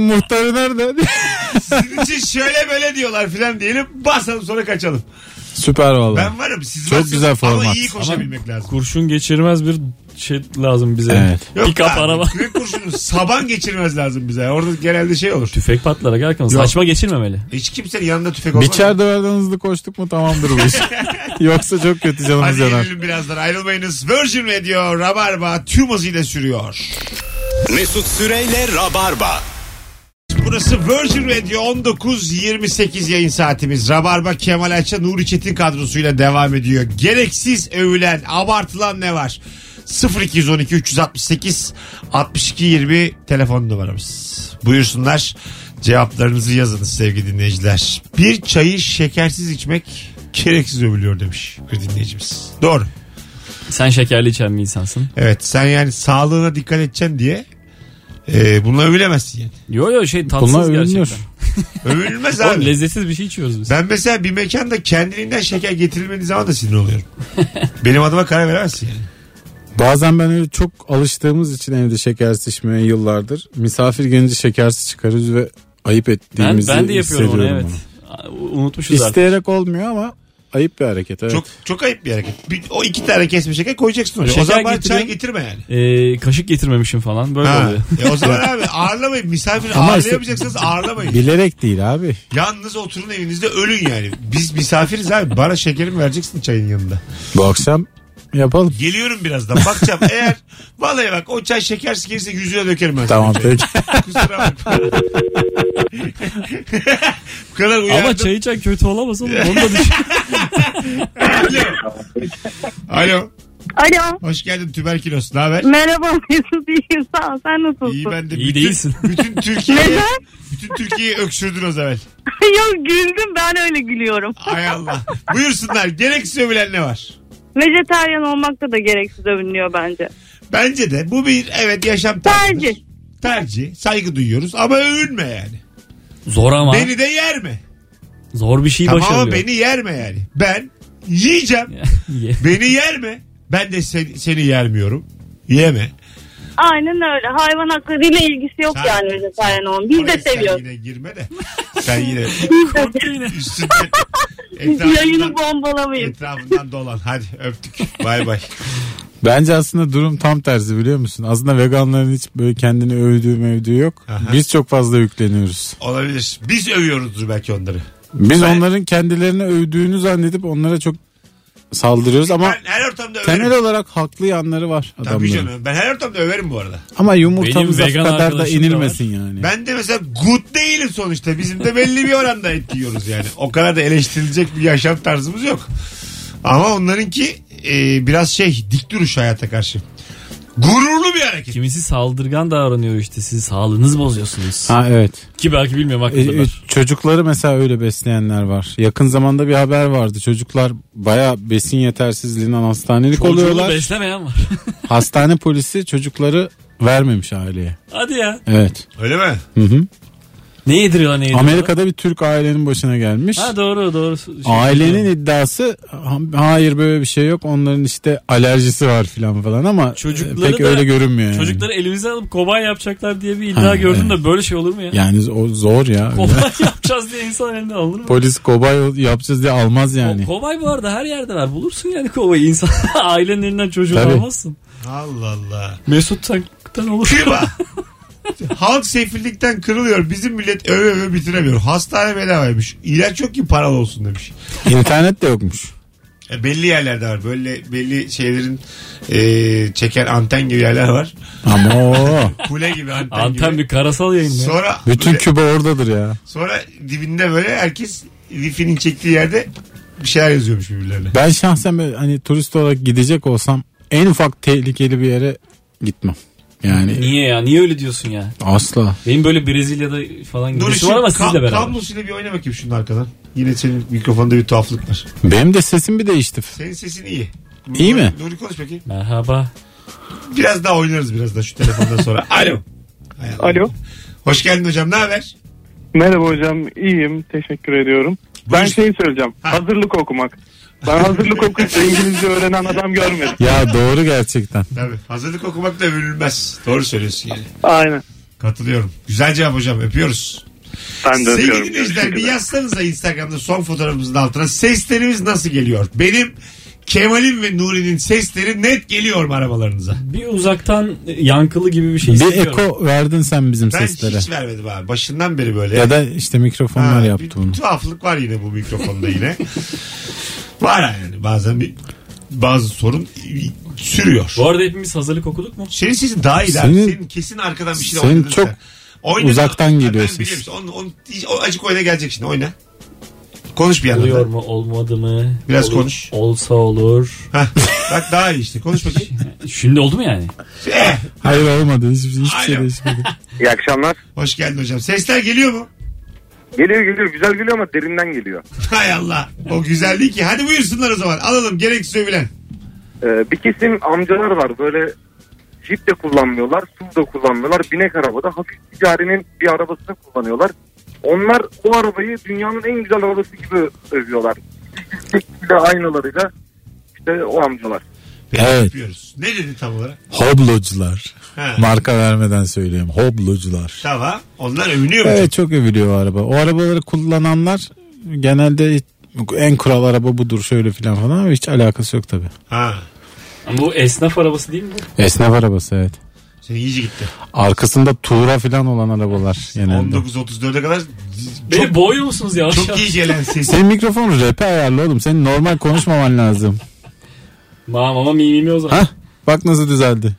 C: muhtarı nerede?
B: Sizin için şöyle böyle diyorlar filan diyelim. Basalım sonra kaçalım.
C: Süper valla.
B: Ben varım. Siz
C: Çok
B: varsınız.
C: güzel
B: Ama
C: format.
B: iyi koşabilmek lazım.
D: Kurşun geçirmez bir şey lazım bize.
C: Evet.
B: Yok
D: Pick up
B: abi,
D: araba.
B: Kürek kurşunu saban geçirmez lazım bize. Orada genelde şey olur.
D: Tüfek patlarak Erkan
B: Yok.
D: saçma geçirmemeli.
B: Hiç kimsenin yanında tüfek olmaz.
C: Biçer döverden hızlı koştuk mu tamamdır bu iş. Yoksa çok kötü canımız
B: Hadi
C: yanar.
B: gelelim birazdan ayrılmayınız. Virgin Radio Rabarba tüm hızıyla sürüyor.
A: Mesut Süreyle Rabarba.
B: Burası Virgin Radio 19.28 yayın saatimiz. Rabarba Kemal Ayça Nuri Çetin kadrosuyla devam ediyor. Gereksiz övülen, abartılan ne var? 0212 368 62 20 telefon numaramız. Buyursunlar cevaplarınızı yazınız sevgili dinleyiciler. Bir çayı şekersiz içmek gereksiz övülüyor demiş bir dinleyicimiz. Doğru.
D: Sen şekerli içen bir insansın.
B: Evet sen yani sağlığına dikkat edeceksin diye e, bununla övülemezsin yani.
D: Yo yo şey tatsız
C: Bunlar övünüyor.
D: gerçekten.
B: Övülmez
D: Oğlum
B: abi.
D: lezzetsiz bir şey içiyoruz biz.
B: Ben mesela bir mekanda kendiliğinden şeker getirilmediği zaman da sinir oluyorum. Benim adıma karar veremezsin yani.
C: Bazen ben öyle çok alıştığımız için evde şekersiz içmeye yıllardır. Misafir gelince şekersiz çıkarız ve ayıp
D: Ben,
C: ettiğimizi
D: ben de yapıyorum onu
C: hissediyorum
D: evet.
C: bunu.
D: Aa, Unutmuşuz artık.
C: İsteyerek olmuyor ama ayıp bir hareket evet.
B: Çok çok ayıp bir hareket. Bir- o iki tane kesme şeker koyacaksın oraya. o
D: Şeker
B: zaman bana çay
D: getireyim.
B: getirme yani.
D: Ee, kaşık getirmemişim falan böyle
B: Ha.
D: oluyor.
B: E o zaman abi ağırlamayın. Misafir
C: Ama işte-
B: ağırlayamayacaksanız ağırlamayın.
C: Bilerek değil abi.
B: Yalnız oturun evinizde ölün yani. Biz misafiriz abi. Bana şekerimi vereceksin çayın yanında.
C: Bu akşam yapalım.
B: Geliyorum birazdan. Bakacağım eğer vallahi bak o çay şekersiz gelirse yüzüne dökerim ben.
C: Tamam peki.
B: Kusura bakma. Bu kadar uyardım.
D: Ama çay içen kötü olamaz oğlum. Onu da düşün.
B: Alo. Alo.
E: Alo.
B: Hoş geldin tüberkülos. Ne haber?
E: Merhaba Mesut iyiyim sağ ol. Sen nasılsın?
B: İyi ben de.
D: İyi
B: bütün,
D: değilsin.
B: Bütün Türkiye'yi,
E: Neden?
B: bütün Türkiye'yi öksürdün o zaman.
E: Yok güldüm ben öyle gülüyorum.
B: Ay Allah. Buyursunlar. Gereksiz övülen ne var?
E: Vejetaryen olmakta da gereksiz övünüyor bence.
B: Bence de bu bir evet yaşam tarzıdır.
E: Tercih.
B: Tercih. Saygı duyuyoruz ama övünme yani.
D: Zor ama.
B: Beni de yerme.
D: Zor bir şey
B: Tamam ama
D: başarılıyor.
B: beni yerme yani. Ben yiyeceğim.
D: Ye.
B: beni yerme. Ben de seni, seni yermiyorum. Yeme.
E: Aynen öyle. Hayvan haklarıyla ilgisi yok
B: Sen-
E: yani vejetaryen olmanın. Biz
B: Oraya
E: de seviyoruz.
B: Sen yine girme de. Sen yine
D: Korktu yine.
B: üstünde
E: Yayını
B: etrafından,
E: bombalamayın.
B: etrafından dolan. Hadi öptük. Bay bay.
C: Bence aslında durum tam tersi biliyor musun? Aslında veganların hiç böyle kendini övdüğü mevdüğü yok.
B: Aha.
C: Biz çok fazla yükleniyoruz.
B: Olabilir. Biz övüyoruzdur belki onları.
C: Biz
B: Ben-
C: onların kendilerini övdüğünü zannedip onlara çok saldırıyoruz ama
B: ben her ortamda överim.
C: temel olarak haklı yanları var
B: Tabii
C: adamların.
B: canım. Ben her ortamda överim bu arada.
C: Ama yumurtamıza
D: Benim vegan
C: kadar da
D: arkadaşım da
C: inilmesin yani.
B: Ben de mesela good değilim sonuçta. Bizim de belli bir oranda et yiyoruz yani. O kadar da eleştirilecek bir yaşam tarzımız yok. Ama onlarınki e, biraz şey dik duruş hayata karşı. Gururlu bir hareket.
D: Kimisi saldırgan davranıyor işte. Siz sağlığınızı bozuyorsunuz.
C: Ha evet.
D: Ki belki bilmiyorum
C: E, e,
D: haklılar.
C: çocukları mesela öyle besleyenler var. Yakın zamanda bir haber vardı. Çocuklar baya besin yetersizliğinden hastanelik
D: Çocuğunu
C: oluyorlar.
D: beslemeyen var.
C: Hastane polisi çocukları vermemiş aileye.
D: Hadi ya.
C: Evet.
B: Öyle mi?
C: Hı hı.
D: Ne yediriyorlar ne yediriyorlar?
C: Amerika'da bir Türk ailenin başına gelmiş.
D: Ha doğru doğru. Şey-
C: Ailenin iddiası ha- hayır böyle bir şey yok. Onların işte alerjisi var filan falan ama
D: Çocukları
C: e, pek
D: da-
C: öyle görünmüyor yani.
D: Çocukları elimize alıp kobay yapacaklar diye bir iddia
C: Ha,
D: gördüm
C: evet.
D: de böyle şey olur mu ya?
C: Yani o zor ya.
D: Kobay yapacağız diye insan elinden alınır mı?
C: Polis kobay yapacağız diye almaz yani.
D: Ko- Kobay bu arada her yerde var. Bulursun yani kobayı. İnsan ailenin elinden çocuğu
C: Tabii.
D: almazsın.
B: Allah Allah.
D: Mesut Tank'tan olur.
B: Küba. Halk sefillikten kırılıyor. Bizim millet öve öve bitiremiyor. Hastane bedavaymış. İlaç yok ki paralı olsun demiş.
C: İnternet de yokmuş.
B: E, belli yerlerde var. Böyle belli şeylerin e, çeken anten gibi yerler var.
C: Ama o.
B: Kule gibi anten,
D: Anten
B: gibi.
D: bir karasal yayın ya.
B: Sonra
C: Bütün
B: böyle-
C: Küba oradadır ya.
B: sonra dibinde böyle herkes wifi'nin çektiği yerde bir şeyler yazıyormuş birbirlerine.
C: Ben şahsen böyle hani turist olarak gidecek olsam en ufak tehlikeli bir yere gitmem. Yani
D: Niye ya? Niye öyle diyorsun ya?
C: asla.
D: Benim böyle Brezilya'da falan
B: Nuri
D: gidişim
B: şu
D: var ama
B: ka-
D: sizle beraber.
B: kablosuyla bir oyna bakayım şunun arkadan. Yine senin mikrofonda bir tuhaflık var.
C: Benim de sesim bir değişti.
B: Senin sesin iyi.
C: İyi mi?
B: Nuri konuş bakayım.
D: Merhaba.
B: Biraz daha oynarız biraz da şu telefondan sonra. Alo. Hay Allah.
H: Alo.
B: Hoş geldin hocam ne haber?
H: Merhaba hocam iyiyim teşekkür ediyorum. Ben
B: Buyur.
H: şey söyleyeceğim
B: Ha.
H: hazırlık okumak. Ben hazırlık okuyup da İngilizce öğrenen adam görmedim.
C: Ya doğru gerçekten.
B: Tabii. Hazırlık okumak da övünülmez. Doğru söylüyorsun yani.
H: Aynen.
B: Katılıyorum. Güzel cevap hocam. Öpüyoruz.
H: Ben de
B: Sevgili
H: öpüyorum.
B: dinleyiciler bir
H: Görüşmek üzere.
B: yazsanıza Instagram'da son fotoğrafımızın altına seslerimiz nasıl geliyor? Benim Kemal'in ve Nuri'nin sesleri net geliyor mu arabalarınıza?
D: Bir uzaktan yankılı gibi bir şey
C: Bir
D: hissediyorum.
C: eko verdin sen bizim
B: Ben
C: seslere.
B: hiç vermedim abi. Başından beri böyle.
C: Ya da işte mikrofonlar
B: Ha,
C: yaptı
B: bir
C: bunu.
B: Tuhaflık var yine bu mikrofonda yine. var yani bazen bir bazı sorun sürüyor.
D: Bu arada hepimiz hazırlık okuduk mu?
B: Senin sesin daha iyi senin,
C: Senin-
B: senin kesin arkadan bir şey
C: senin
B: oynadın
C: çok
B: sen. Oynadın.
C: uzaktan
B: Ha,
C: geliyor
B: ben
C: ses.
B: biliyorum. Onu, onu, o acık oyna gelecek şimdi oyna. Konuş bir yandan.
D: Oluyor
B: da.
D: mu olmadı mı?
B: Biraz
D: Olur-
B: konuş.
D: Olsa olur.
B: Hah, bak daha iyi işte konuş bakayım.
D: Şimdi oldu mu yani?
B: Eh,
C: Hayır olmadı. Hiçbir, hiçbir şey
B: Alo.
C: değişmedi.
H: İyi akşamlar.
B: hoş geldin hocam. Sesler geliyor mu?
H: Geliyor geliyor güzel geliyor ama derinden geliyor.
B: Hay Allah. O güzel değil ki. Hadi buyursunlar o zaman. Alalım gereksiz övülen.
H: Ee, bir kesim amcalar var böyle jip de kullanmıyorlar, SUV da kullanmıyorlar. Binek arabada hafif ticarinin bir arabasını kullanıyorlar. Onlar o arabayı dünyanın en güzel arabası gibi övüyorlar. Tekniğiyle aynalarıyla işte o amcalar.
B: Peki,
C: Evet.
B: yapıyoruz. Ne dedi tam olarak?
C: Hoblocular.
B: Ha.
C: Marka vermeden söyleyeyim. Hoblocular.
B: Tamam. Onlar övünüyor mu?
C: Evet çok övülüyor o araba. O arabaları kullananlar genelde en kural araba budur şöyle filan falan ama hiç alakası yok tabi.
B: Ha.
D: Ama Bu esnaf arabası değil mi? bu?
C: Esnaf arabası evet.
B: Senin iyice gitti.
C: Arkasında tura filan olan arabalar genelde.
B: 19.34'e kadar
D: Beni boğuyor musunuz yavaş
B: çok, çok
D: yavaş?
B: iyi gelen ses.
C: Senin mikrofonu rap'e ayarlı oğlum. Senin normal konuşmaman lazım.
D: Ma mama mi mi mi o zaman.
C: Hah bak nasıl düzeldi.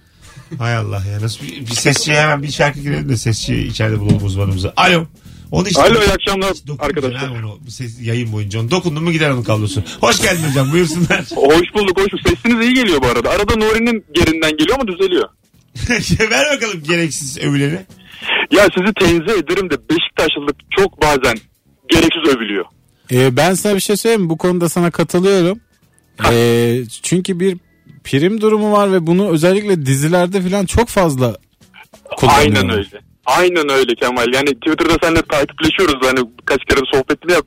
B: Hay Allah ya. Nasıl bir, bir sesçiye hemen bir şarkı girelim de sesçiyi içeride bulalım uzmanımızı. Alo. Onu işte
H: Alo iyi akşamlar
B: Dokundun
H: arkadaşlar.
B: ha Onu, ses, yayın boyunca onu dokundun mu gider onun kablosu. Hoş geldin hocam buyursunlar.
H: Hoş bulduk hoş bulduk. Sesiniz iyi geliyor bu arada. Arada Nuri'nin gerinden geliyor ama düzeliyor.
B: Ver bakalım gereksiz övüleri.
H: Ya sizi tenzih ederim de Beşiktaşlılık çok bazen gereksiz övülüyor.
C: Ee, ben sana bir şey söyleyeyim mi? Bu konuda sana katılıyorum. Ee, çünkü bir prim durumu var ve bunu özellikle dizilerde filan çok fazla kullanıyorlar.
H: Aynen öyle. Aynen öyle Kemal. Yani Twitter'da seninle takipleşiyoruz. Hani kaç kere bir sohbetini yap.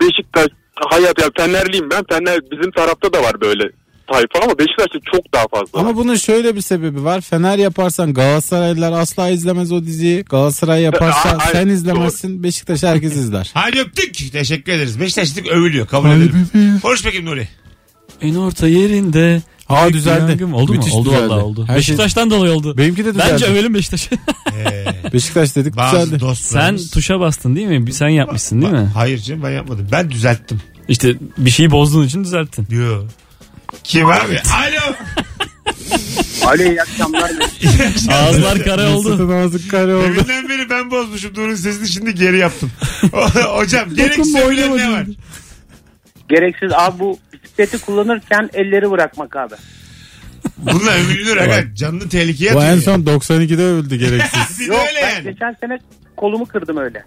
H: Beşiktaş hayat ya Fenerliyim ben. Fener bizim tarafta da var böyle tayfa ama Beşiktaş'ta çok daha fazla.
C: Ama
H: var.
C: bunun şöyle bir sebebi var. Fener yaparsan Galatasaraylılar asla izlemez o diziyi. Galatasaray
H: A-
C: yaparsan
H: aynen,
C: sen izlemezsin. Beşiktaş herkes izler.
B: Hadi öptük. Teşekkür ederiz. Beşiktaşlık övülüyor. Kabul
C: Hadi
B: edelim. Konuş bakayım Nuri.
D: En orta yerinde.
C: Ha,
D: büyük bir
C: düzeldi.
D: yangın. Oldu
C: Müthiş
D: mu? Oldu
C: düzeldi.
D: vallahi oldu.
C: Her şey-
D: Beşiktaş'tan dolayı oldu.
C: Benimki de düzeldi.
D: Bence övelim Beşiktaş'ı.
B: Ee,
C: Beşiktaş dedik
B: bazı
C: düzeldi.
D: Sen
B: dostlarımız.
D: tuşa bastın değil mi? Sen yapmışsın değil mi?
B: Hayır canım ben yapmadım. Ben düzelttim.
D: İşte bir şeyi bozduğun için düzelttin.
B: Yo. Kim abi? Alo.
F: Alo iyi akşamlar.
D: Ağızlar kara oldu.
C: Nasıl nazık kare oldu.
B: Deminden beri ben bozmuşum. Nuri'nin sesini şimdi geri yaptım. Hocam gereksiz övülen ne var?
I: Gereksiz abi bu bisikleti kullanırken elleri bırakmak abi.
B: Bununla övülür aga. Canını tehlikeye
C: Bu
B: atıyor.
C: en son 92'de öldü gereksiz.
B: Bir de
I: Yok
B: öyle
I: ben
B: yani.
I: geçen sene kolumu kırdım öyle.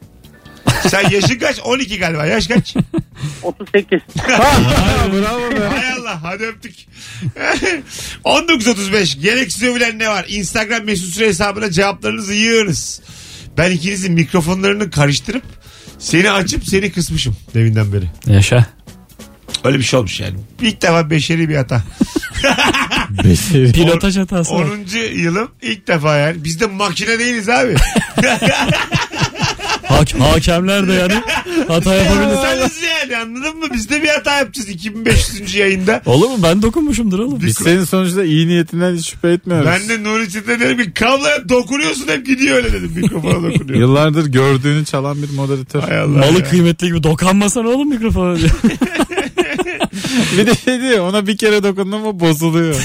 B: Sen yaşın kaç? 12 galiba. Yaş kaç?
I: 38.
C: Bravo be.
B: Hay Allah hadi öptük. 19.35 gereksiz övülen ne var? Instagram mesut süre hesabına cevaplarınızı yığınız. Ben ikinizin mikrofonlarını karıştırıp seni açıp seni kısmışım devinden beri.
D: Yaşa.
B: Öyle bir şey olmuş yani. İlk defa beşeri bir hata.
C: Beşeri.
D: Pilotaj hatası. var.
B: 10. yılım ilk defa yani. Biz de makine değiliz abi.
D: Hak- hakemler de yani hata yapabilir.
B: İnsanız yani anladın mı? Biz de bir hata yapacağız 2500. yayında.
D: Olur mu? Ben dokunmuşumdur oğlum.
C: Biz senin sonuçta iyi niyetinden hiç şüphe etmiyoruz.
B: Ben de Nuri Çetin'e dedim ki kabloya dokunuyorsun hep gidiyor öyle dedim. Mikrofona dokunuyor.
C: Yıllardır gördüğünü çalan bir moderatör.
B: Hay Allah
D: Malı
B: ya.
D: kıymetli gibi dokanmasana oğlum mikrofona.
C: bir de şey diyor ona bir kere dokundu mu bozuluyor.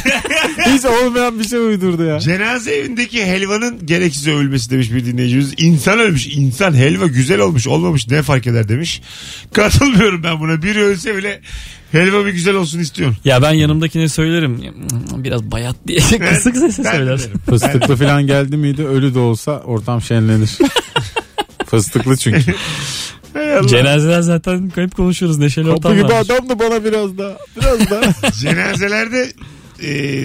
C: Hiç olmayan bir şey uydurdu ya.
B: Cenaze evindeki helvanın gereksiz övülmesi demiş bir dinleyicimiz. İnsan ölmüş. insan helva güzel olmuş olmamış ne fark eder demiş. Katılmıyorum ben buna. Biri ölse bile helva bir güzel olsun istiyorum.
D: ya ben yanımdakine söylerim. Biraz bayat diye kısık sesle
B: Ben
D: söyler.
B: derim.
C: Fıstıklı falan geldi miydi ölü de olsa ortam şenlenir. Fıstıklı çünkü.
B: Hay Allah.
D: Cenazeler zaten kayıp konuşuyoruz. Neşeli
C: Kapı
D: ortam
C: gibi
D: var.
C: adamdı bana biraz da. Biraz da.
B: Cenazelerde e,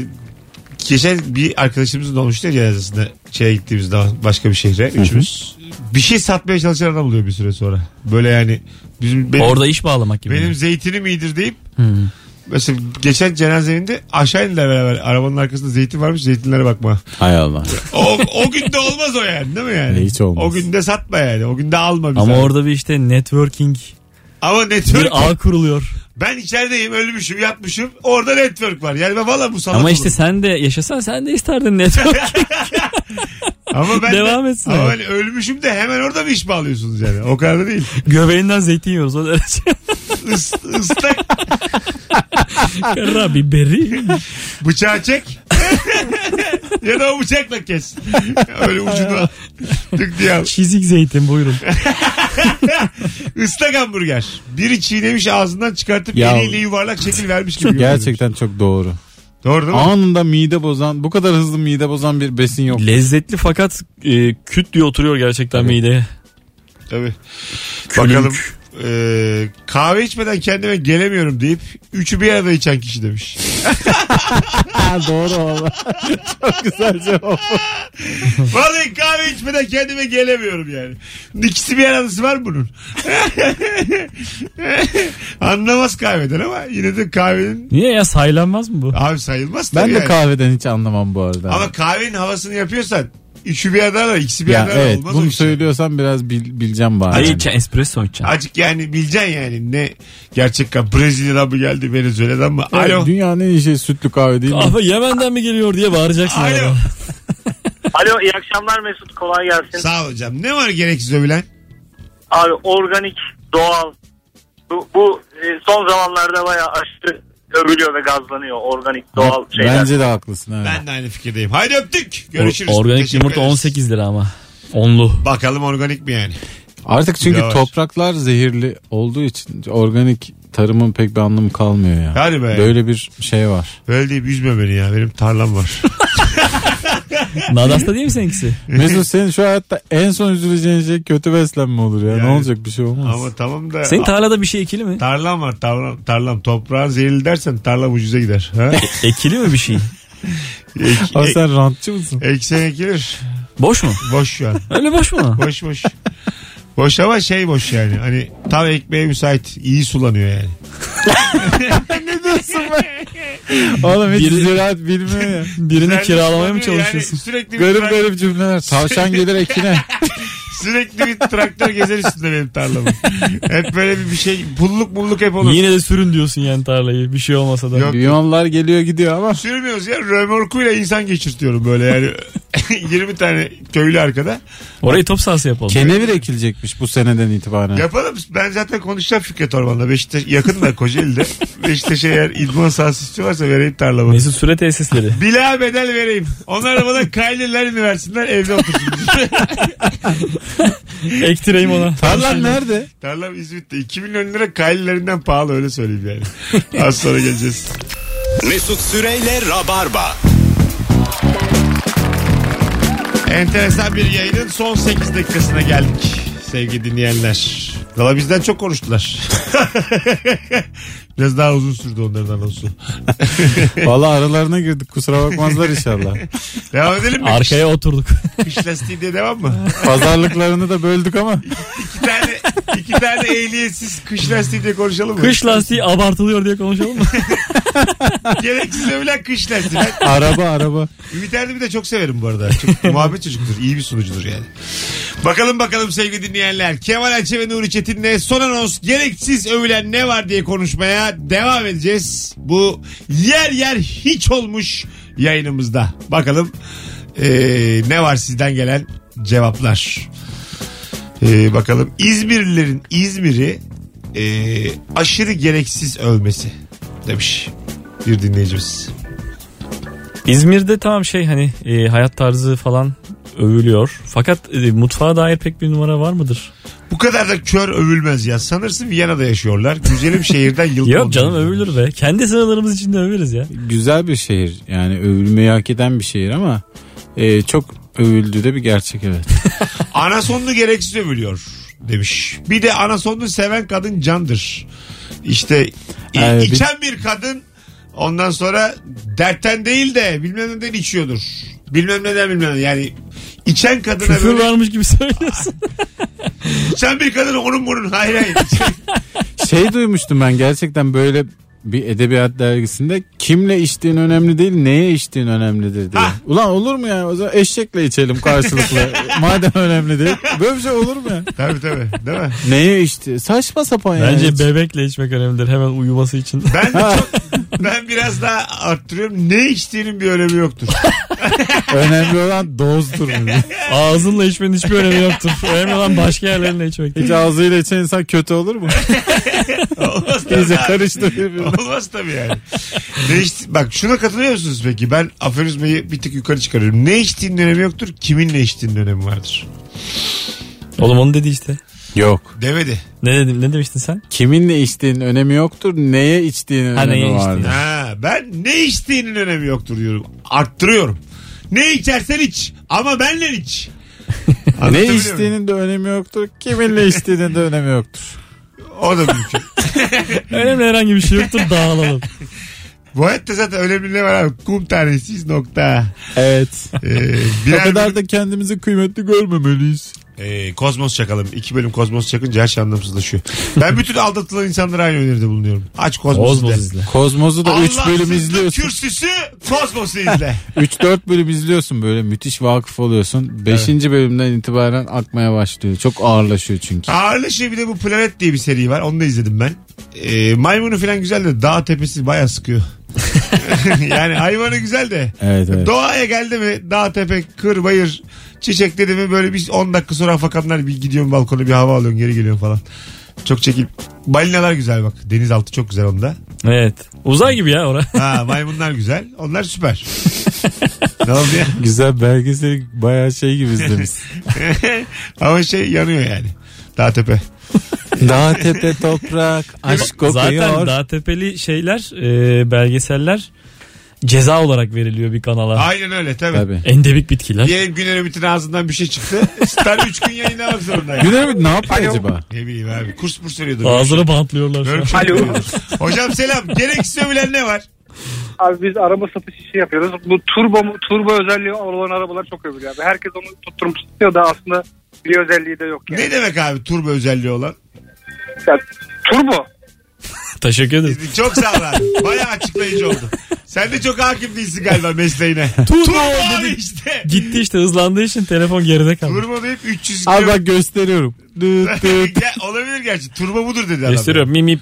B: geçen bir arkadaşımızın olmuştu ya cenazesinde şeye gittiğimiz zaman başka bir şehre üçümüz. Bir şey satmaya çalışan adam oluyor bir süre sonra. Böyle yani bizim benim,
D: Orada iş bağlamak gibi.
B: benim zeytinim iyidir deyip Mesela geçen cenazeminde aşağı indiler beraber. Arabanın arkasında zeytin varmış zeytinlere bakma.
C: Hay Allah.
B: O, o gün de olmaz o yani değil mi yani?
C: E, hiç olmaz.
B: O gün de satma yani. O gün de alma bizi.
D: Ama orada bir işte networking
B: Ama network.
D: bir ağ kuruluyor.
B: Ben içerideyim ölmüşüm yatmışım. Orada network var. Yani ben valla musallat
D: Ama
B: olurum.
D: işte sen de yaşasan sen de isterdin network.
B: Ama ben
D: Devam
B: de,
D: etsin
B: Ama
D: yani.
B: ben ölmüşüm de hemen orada bir iş bağlıyorsunuz yani. O kadar da değil.
D: Göbeğinden zeytin yiyoruz o derece.
B: Is, ıslak
D: Kara biberi.
B: bıçağı çek. ya da o bıçakla kes. Öyle ucunu tık diye al.
D: Çizik zeytin buyurun.
B: Islak hamburger. Biri çiğnemiş ağzından çıkartıp
C: Ya-
B: eliyle yuvarlak şekil vermiş gibi.
C: Gerçekten çok doğru.
B: Doğru değil mi?
C: Anında mide bozan, bu kadar hızlı mide bozan bir besin yok.
D: Lezzetli fakat e, küt diye oturuyor gerçekten mideye.
B: Tabii.
D: Külünk.
B: Bakalım. Ee, kahve içmeden kendime gelemiyorum deyip üçü bir arada içen kişi demiş.
C: doğru valla. çok güzel cevap.
B: Vallahi kahve içmeden kendime gelemiyorum yani. İkisi bir arası var bunun. Anlamaz kahveden ama yine de kahvenin
D: Niye ya saylanmaz mı bu?
B: abi sayılmaz
C: Ben
B: tabii
C: de
B: yani.
C: kahveden hiç anlamam bu arada.
B: Ama kahvenin havasını yapıyorsan üçü bir arada da ikisi bir
C: ya
B: arada da
C: evet
B: olmaz. şey. o
C: bunu
B: iş.
C: söylüyorsan biraz bil- bileceğim bari.
D: Hayır içe espresso içeceksin.
B: Azıcık yani bileceksin yani ne gerçek kahve. Brezilya'dan mı geldi Venezuela'dan mı?
C: Evet,
B: Alo.
C: Dünyanın en iyi şey sütlü kahve değil mi?
D: Abi Yemen'den mi geliyor diye bağıracaksın
B: Alo.
D: arada.
I: Alo iyi akşamlar Mesut kolay gelsin.
B: Sağ ol hocam. Ne var gereksiz övülen?
I: Abi organik, doğal. Bu, bu e, son zamanlarda bayağı aşırı övülüyor ve gazlanıyor organik, doğal şeyler.
C: Bence de haklısın. Evet.
B: Ben de aynı fikirdeyim. Haydi öptük. Görüşürüz.
D: O- Organik
B: Teşekkür
D: yumurta
B: ederiz.
D: 18 lira ama. Onlu.
B: Bakalım organik mi yani?
C: Artık çünkü
B: Yavaş.
C: topraklar zehirli olduğu için organik tarımın pek bir anlamı kalmıyor ya.
B: Hadi be.
C: Böyle bir şey var.
B: Öyle deyip üzme beni ya. Benim tarlam var.
D: Nadas'ta değil mi seninkisi?
C: Mesut senin şu hayatta en son üzüleceğin şey kötü beslenme olur ya.
B: Yani-
C: ne olacak bir şey olmaz.
B: Ama tamam da.
D: Senin tarlada bir şey ekili mi?
B: Tarlam var tarlam, tarlam. Toprağın zehirli dersen tarlam ucuza gider. Ha?
D: Ekili mi bir şey?
B: Ek-
C: Ama sen rantçı mısın?
B: e- eksen ekilir.
D: Boş mu?
B: Boş şu an.
D: Öyle boş mu?
B: Boş boş. Boş ama şey boş yani. Hani tam ekmeğe müsait. iyi sulanıyor yani.
C: Oğlum hiç
D: Biri-
C: ziraat bilmiyor ya.
D: Birini
B: Yani
D: kiralamaya
B: sulanıyor
D: mı
B: şey yani
D: çalışıyorsun?
B: sürekli, bir
C: Garip
B: tra-
C: garip cümleler. Tavşan gelir ekine.
B: sürekli bir traktör gezer üstünde benim tarlamın. hep böyle bir, bir şey. Pulluk mulluk hep olur.
D: Yine de sürün diyorsun yani tarlayı. Bir şey olmasa da.
B: Yok.
C: Biyonlar geliyor gidiyor ama.
B: Sürmüyoruz ya. Römorkuyla insan geçirtiyorum böyle yani. 20 tane köylü arkada.
D: Orayı top sahası yapalım.
C: Kenevir ekilecekmiş bu seneden itibaren.
B: Yapalım. Ben zaten konuşacağım Fikret Orman'la. Beşiktaş yakın da Kocaeli'de. Beşiktaş'a eğer idman sahası istiyorlarsa vereyim tarlamı.
D: Mesut süre tesisleri.
B: Bila bedel vereyim. Onlar bana kaynırlar versinler evde otursun.
D: Ektireyim ona.
C: Tarlan nerede?
B: Tarlam İzmit'te. 2 milyon lira kaynırlarından pahalı öyle söyleyeyim yani. Az sonra geleceğiz.
A: Mesut Süreyle Rabarba.
B: Enteresan bir yayının son 8 dakikasına geldik sevgili dinleyenler. Valla bizden çok konuştular. Biraz daha uzun sürdü onların anonsu.
C: Valla aralarına girdik kusura bakmazlar inşallah.
B: Devam edelim mi?
D: Arkaya oturduk.
B: Kış lastiği diye devam mı?
C: Pazarlıklarını da böldük ama.
B: İki tane, iki tane ehliyetsiz kış lastiği diye konuşalım mı?
D: Kış lastiği abartılıyor diye konuşalım mı?
B: Gereksiz övülen kış lastiği. Ben
C: Araba araba.
B: Ümit Erdem'i de çok severim bu arada. Çok muhabbet çocuktur. iyi bir sunucudur yani. Bakalım bakalım sevgili dinleyenler. Kemal Ayçe ve Nuri Çetin'le son anons gereksiz övülen ne var diye konuşmaya devam edeceğiz. Bu yer yer hiç olmuş yayınımızda. Bakalım eee, ne var sizden gelen cevaplar. Eee, bakalım İzmirlilerin İzmir'i eee, aşırı gereksiz övmesi demiş bir dinleyicimiz.
D: İzmir'de tamam şey hani e, hayat tarzı falan övülüyor. Fakat e, mutfağa dair pek bir numara var mıdır?
B: Bu kadar da kör övülmez ya. Sanırsın Viyana'da yaşıyorlar. Güzelim şehirden yıl
D: Yok canım övülür be. Kendi sınırlarımız içinde överiz ya.
C: Güzel bir şehir yani övülmeyi hak eden bir şehir ama e, çok övüldü de bir gerçek evet.
B: Anasonlu gereksiz övülüyor demiş. Bir de anasonlu seven kadın candır. İşte i-
C: Evet, bir-
B: içen bir kadın ondan sonra dertten değil de bilmem neden içiyordur. Bilmem neden bilmem neden. Yani içen kadına
D: Küfür
B: böyle
D: varmış gibi söylüyorsun.
B: içen bir kadın onun bunun hayır hayır.
C: Şey duymuştum ben gerçekten böyle bir edebiyat dergisinde kimle içtiğin önemli değil neye içtiğin önemlidir diye.
D: Ah!
B: Hah.
C: Ulan olur mu ya? O zaman eşekle içelim karşılıklı. Madem önemli değil. Böyle bir şey olur mu ya?
B: Tabii tabii. Değil mi?
C: Neye içti? Saçma sapan yani.
D: Bence bebekle içmek önemlidir hemen uyuması için.
B: Ben de çok ben biraz daha arttırıyorum. Ne içtiğinin bir önemi yoktur.
C: önemli olan dozdur.
D: Ağzınla içmenin hiçbir önemi yoktur. Önemli olan başka yerlerle içmek.
C: Hiç ağzıyla içen insan kötü olur mu?
B: Olmaz tabii.
C: İyice karıştı birbirine.
B: Olmaz tabii yani. Ne iç- Bak şuna katılıyor musunuz peki? Ben aferizmayı bir tık yukarı çıkarıyorum. Ne içtiğinin önemi yoktur. Kiminle içtiğinin önemi vardır.
D: Oğlum onu dedi işte.
C: Yok.
B: Demedi.
D: Ne dedim? Ne demiştin sen?
C: Kiminle içtiğin önemi yoktur. Neye içtiğin
D: Ha,
C: önemi
D: neye içtiğin.
C: vardır.
B: Ha, ben ne içtiğinin önemi yoktur diyorum. Arttırıyorum. Ne içersen iç. Ama benle iç.
C: Ne
B: Anlatabiliyor muyum?
C: içtiğinin de önemi yoktur. Kiminle içtiğinin de önemi yoktur.
B: O da mümkün.
D: Önemli herhangi bir şey yoktur dağılalım.
B: Bu hayatta zaten önemli ne var abi? Kum tanesiyiz nokta.
C: Evet.
B: Ee,
C: o
B: birer
C: kadar da kendimizi kıymetli görmemeliyiz.
B: Ee, kozmos çakalım. İki bölüm kozmos çakınca her şey anlamsızlaşıyor. Ben bütün aldatılan insanlara aynı öneride bulunuyorum. Aç kozmosu
D: Kozmoz
B: izle.
D: izle.
C: Kozmoz'u da 3 bölüm
B: Allahsızlık
C: izliyorsun.
B: kürsüsü kozmosu izle.
C: 3-4 bölüm izliyorsun böyle müthiş vakıf oluyorsun. 5. bölümden itibaren akmaya başlıyor. Çok ağırlaşıyor çünkü.
B: Ağırlaşıyor bir de bu Planet diye bir seri var. Onu da izledim ben. Ee, maymunu falan güzel de dağ tepesi bayağı sıkıyor. yani hayvanı güzel de.
C: Evet evet.
B: Doğaya geldi mi dağ tepe kır bayır çiçek dedi mi böyle bir 10 dakika sonra afakanlar bir gidiyorum balkona bir hava alıyorum geri geliyorum falan. Çok çekil. Balinalar güzel bak. Denizaltı çok güzel onda.
D: Evet. Uzay gibi ya orası.
B: Ha maymunlar güzel. Onlar süper. ne oldu ya?
C: Güzel belgesel bayağı şey gibi izlemiş.
B: Ama şey yanıyor yani. Dağ tepe.
C: Dağ tepe toprak aşk
D: Zaten
C: kokuyor.
D: dağ tepeli şeyler, e, belgeseller ceza olarak veriliyor bir kanala.
B: Aynen öyle tabii.
C: Tabii.
D: Endemik bitkiler.
B: Diyelim Güner Ümit'in ağzından bir şey çıktı. Star 3 gün yayınlamak zorundayım.
C: Güner Ümit ne yapıyor acaba?
B: Ne bileyim abi. Kurs burs veriyordur.
D: Ağzını bantlıyorlar şu
B: Böyle
D: an.
B: bir şey yapıyordur. Hocam selam. Gereksiz övülen ne var?
H: Abi biz araba satış işi yapıyoruz. Bu turbo mu- turbo özelliği olan arabalar çok övülüyor abi. Herkes onu tutturup tutuyor da aslında bir özelliği de yok yani.
B: Ne demek abi turbo özelliği olan?
H: Ya, turbo.
D: Teşekkür ederim.
B: Çok sağ ol abi. Baya açıklayıcı oldu. Sen de çok hakim değilsin galiba mesleğine.
D: Turbo
B: abi
D: dedi.
B: işte.
D: Gitti işte hızlandığı için telefon geride kaldı.
B: Turbo deyip 300
C: Abi
B: kilo-
C: bak gösteriyorum. Dıt dıt.
B: Ya, olabilir gerçi. Turbo budur dedi adam.
D: Gösteriyor mimi.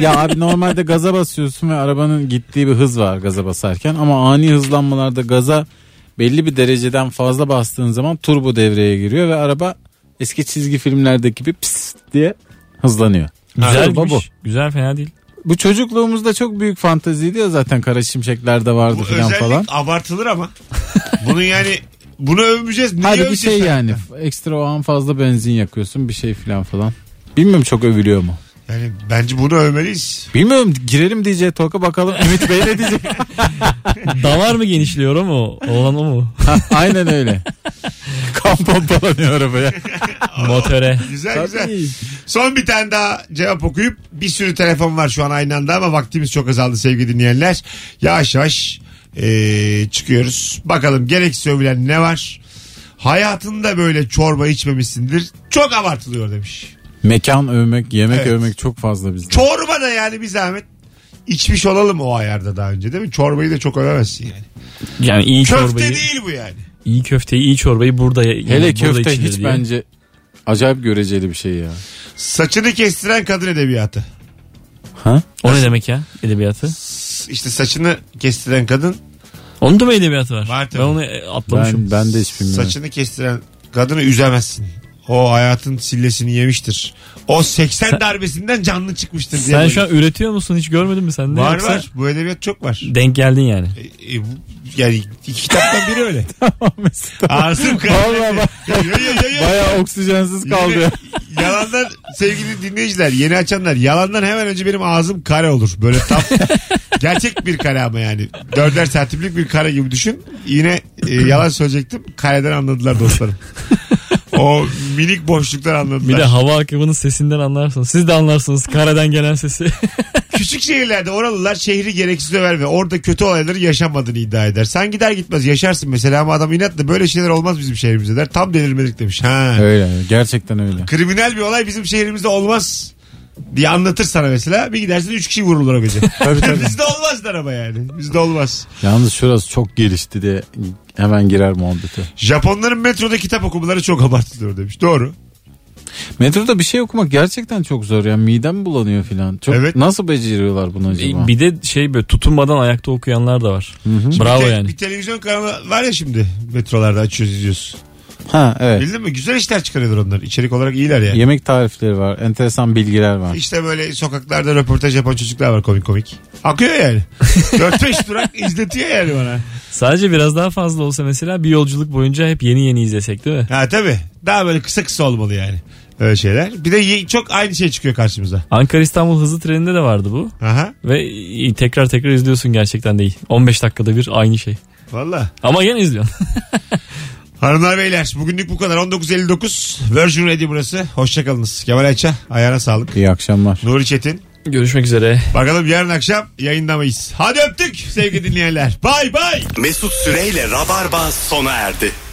C: ya abi normalde gaza basıyorsun ve arabanın gittiği bir hız var gaza basarken ama ani hızlanmalarda gaza belli bir dereceden fazla bastığın zaman turbo devreye giriyor ve araba eski çizgi filmlerdeki gibi pis diye hızlanıyor.
D: Güzel
C: Turbo bu.
D: Güzel fena değil.
C: Bu çocukluğumuzda çok büyük fanteziydi ya zaten Kara Şimşekler de vardı
B: Bu
C: filan
B: özellik
C: falan.
B: abartılır ama. Bunun yani bunu övmeyeceğiz. Niye
C: Hadi bir
B: öveceğiz
C: şey
B: sen?
C: yani ekstra o an fazla benzin yakıyorsun bir şey filan falan. Bilmiyorum çok övülüyor mu?
B: Yani bence bunu övmeliyiz.
C: Bilmiyorum girelim DJ Talk'a bakalım Ümit Bey ne diyecek?
D: Davar mı genişliyor o mu? Olan o mu?
C: Ha, Aynen öyle. Kan pompalanıyor arabaya.
D: Motöre.
B: Güzel güzel.
C: Tabii.
B: Son bir tane daha cevap okuyup bir sürü telefon var şu an aynı anda ama vaktimiz çok azaldı sevgili dinleyenler. Yavaş yavaş eee, çıkıyoruz. Bakalım gereksiz övülen ne var? Hayatında böyle çorba içmemişsindir. Çok abartılıyor demiş.
C: Mekan övmek, yemek
B: Evet.
C: övmek çok fazla bizde.
B: Çorba da yani bir zahmet. İçmiş olalım o ayarda daha önce değil mi? Çorbayı da çok övemezsin yani.
D: Yani iyi
B: Köfte
D: çorbayı.
B: değil bu yani.
D: iyi köfteyi, iyi çorbayı burada
C: Hele
D: burada
C: köfte
D: içilir
C: hiç
D: diye.
C: bence acayip göreceli bir şey ya.
B: Saçını kestiren kadın edebiyatı.
C: Ha?
D: O ne demek ya edebiyatı?
B: İşte saçını kestiren kadın
D: Onun da mı edebiyatı var?
B: Var tabii.
D: ben onu e,
C: Ben,
D: atlamışım.
C: ben de hiç bilmiyorum.
B: saçını kestiren kadını üzemezsin. O hayatın sillesini yemiştir. O 80 darbesinden canlı çıkmıştır diye.
D: Sen
B: böyle.
D: şu an üretiyor musun hiç görmedin mi sen de?
B: var
D: Yoksa
B: var. Bu edebiyat çok var.
D: Denk geldin yani.
B: E, e, bu- yani iki kitaptan biri öyle.
C: Mesut.
B: Ağzım
C: Vallahi bak
B: Baya
C: bayağı oksijensiz kaldı. ya.
B: Yalandan sevgili dinleyiciler yeni açanlar yalandan hemen önce benim ağzım kare olur. Böyle tam gerçek bir kare ama yani. Dörder santimlik bir kare gibi düşün. Yine e, yalan söyleyecektim. Kareden anladılar dostlarım. o minik boşluktan
D: Bir
B: anladılar.
D: de hava akımının sesinden anlarsınız. Siz de anlarsınız kareden gelen sesi.
B: Küçük şehirlerde oralılar şehri gereksiz över ve orada kötü olayları yaşanmadığını iddia eder. Sen gider gitmez yaşarsın mesela ama adam inatla böyle şeyler olmaz bizim şehrimizde der. Tam delirmedik demiş. Ha.
C: öyle gerçekten öyle.
B: Kriminal bir olay bizim şehrimizde olmaz diye anlatır sana mesela. Bir gidersin 3 kişi vurulur o gece.
C: Tabii, tabii.
B: Bizde olmaz da araba yani. Bizde olmaz.
C: Yalnız şurası çok gelişti diye hemen girer muhabbete.
B: Japonların metroda kitap okumaları çok abartılıyor demiş. Doğru.
C: Metroda bir şey okumak gerçekten çok zor ya. Midem bulanıyor filan. Çok
B: Evet.
C: nasıl beceriyorlar bunu acaba?
D: Bir de şey böyle tutunmadan ayakta okuyanlar da var. Bravo
B: Bir te-
D: yani.
B: Bir televizyon kanalı var ya şimdi metrolarda açıyoruz izliyoruz.
C: Ha evet.
B: Bildin mi? Güzel işler çıkarıyorlar onlar. İçerik olarak iyiler yani.
C: Yemek tarifleri var, enteresan bilgiler var.
B: İşte böyle sokaklarda röportaj yapan çocuklar var komik komik. Akıyor yani. 4-5 durak izletiyor yani bana.
D: Sadece biraz daha fazla olsa mesela bir yolculuk boyunca hep yeni yeni izlesek değil mi?
B: Ha tabii. Daha böyle kısa kısa olmalı yani. Öyle şeyler. Bir de ye- çok aynı şey çıkıyor karşımıza.
D: Ankara İstanbul hızlı treninde de vardı bu.
B: Aha.
D: Ve i- tekrar tekrar izliyorsun gerçekten değil. 15 dakikada bir aynı şey.
B: Valla.
D: Ama yine izliyorsun.
B: Hanımlar beyler bugünlük bu kadar. 19.59 Virgin Radio burası. Hoşçakalınız. Kemal Ayça ayağına sağlık.
C: İyi akşamlar.
B: Nuri Çetin.
D: Görüşmek üzere.
B: Bakalım yarın akşam yayında mıyız? Hadi öptük sevgili dinleyenler. Bay bay.
A: Mesut Süreyle Rabarba sona erdi.